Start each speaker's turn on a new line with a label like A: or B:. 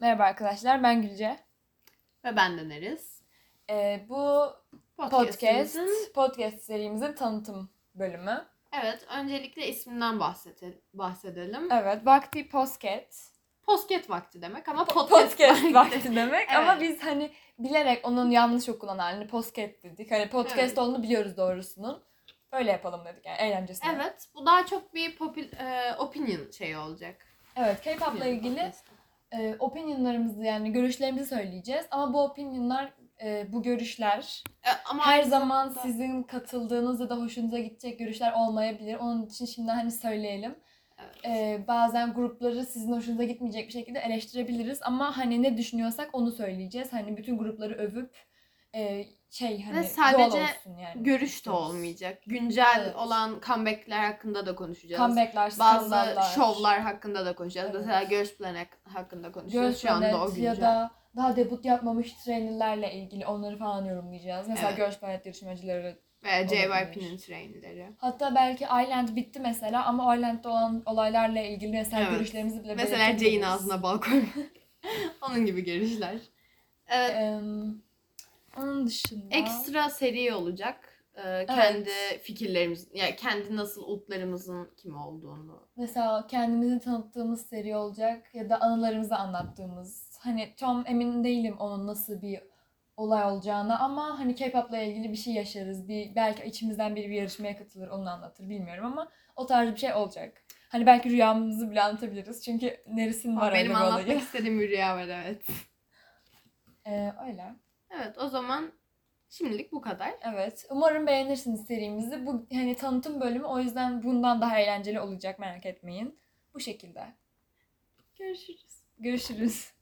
A: Merhaba arkadaşlar ben Gülce.
B: Ve ben Döneriz.
A: Ee, bu podcast,
B: Podcast'imizin-
A: podcast serimizin tanıtım bölümü.
B: Evet, öncelikle isminden bahsedelim. bahsedelim.
A: Evet vakti podcast.
B: Posket vakti demek ama podcast,
A: Podcast
B: vakti.
A: vakti demek
B: Evet.
A: ama biz hani bilerek onun yanlış okunan halini podcast dedik. Hani podcast
B: Evet.
A: olduğunu biliyoruz doğrusunun. Öyle yapalım dedik yani eğlencesine.
B: Evet, bu daha çok bir popül, e, opinion şeyi olacak.
A: Evet K-pop'la
B: Opinion
A: ilgili
B: podcast.
A: e, opinionlarımızı yani görüşlerimizi söyleyeceğiz. Ama bu opinionlar, e, bu görüşler
B: E, ama
A: Her
B: aynı
A: zaman
B: zamanda-
A: sizin katıldığınız ya da hoşunuza gidecek görüşler olmayabilir. Onun için şimdi hani söyleyelim.
B: Evet.
A: Ee, bazen grupları sizin hoşunuza gitmeyecek bir şekilde eleştirebiliriz ama hani ne düşünüyorsak onu söyleyeceğiz. Hani bütün grupları övüp e, şey hani doğal
B: sadece
A: olsun yani.
B: görüş de
A: istiyoruz.
B: olmayacak. Güncel
A: e, Evet.
B: olan comeback'ler hakkında da konuşacağız.
A: Comeback'ler,
B: Bazı
A: skandallar,
B: şovlar hakkında da konuşacağız.
A: Evet.
B: Mesela göğüs planet hakkında konuşuyoruz.
A: göğüs
B: Şu anda o
A: planet ya
B: güncel.
A: da daha debut yapmamış trainerlerle ilgili onları falan yorumlayacağız. Mesela
B: Evet.
A: göğüs planet yarışmacıları
B: Ve JYP'nin
A: Olabilir.
B: trainleri.
A: Hatta belki Island bitti mesela ama Island'da olan olaylarla ilgili mesela
B: Evet.
A: görüşlerimizi bile
B: Mesela
A: belirtebiliriz.
B: Jay'in ağzına bal koyma. Onun gibi görüşler. Evet,
A: Eee, onun dışında...
B: ekstra seri olacak. Ee, Kendi fikirlerimiz, yani kendi nasıl utlarımızın kim olduğunu.
A: Mesela kendimizi tanıttığımız seri olacak ya da anılarımızı anlattığımız. Hani tam emin değilim onun nasıl bir olay olacağına ama hani K-pop'la ilgili bir şey yaşarız. Bir, belki içimizden biri bir yarışmaya katılır onu anlatır bilmiyorum ama o tarz bir şey olacak. Hani belki rüyamızı bile anlatabiliriz çünkü neresin var öyle
B: Benim
A: bir
B: anlatmak
A: olayı.
B: istediğim bir rüya var evet.
A: Eee, öyle.
B: Evet o zaman şimdilik bu kadar.
A: Evet. Umarım beğenirsiniz serimizi. Bu hani tanıtım bölümü o yüzden bundan daha eğlenceli olacak merak etmeyin. Bu şekilde.
B: Görüşürüz.
A: Görüşürüz.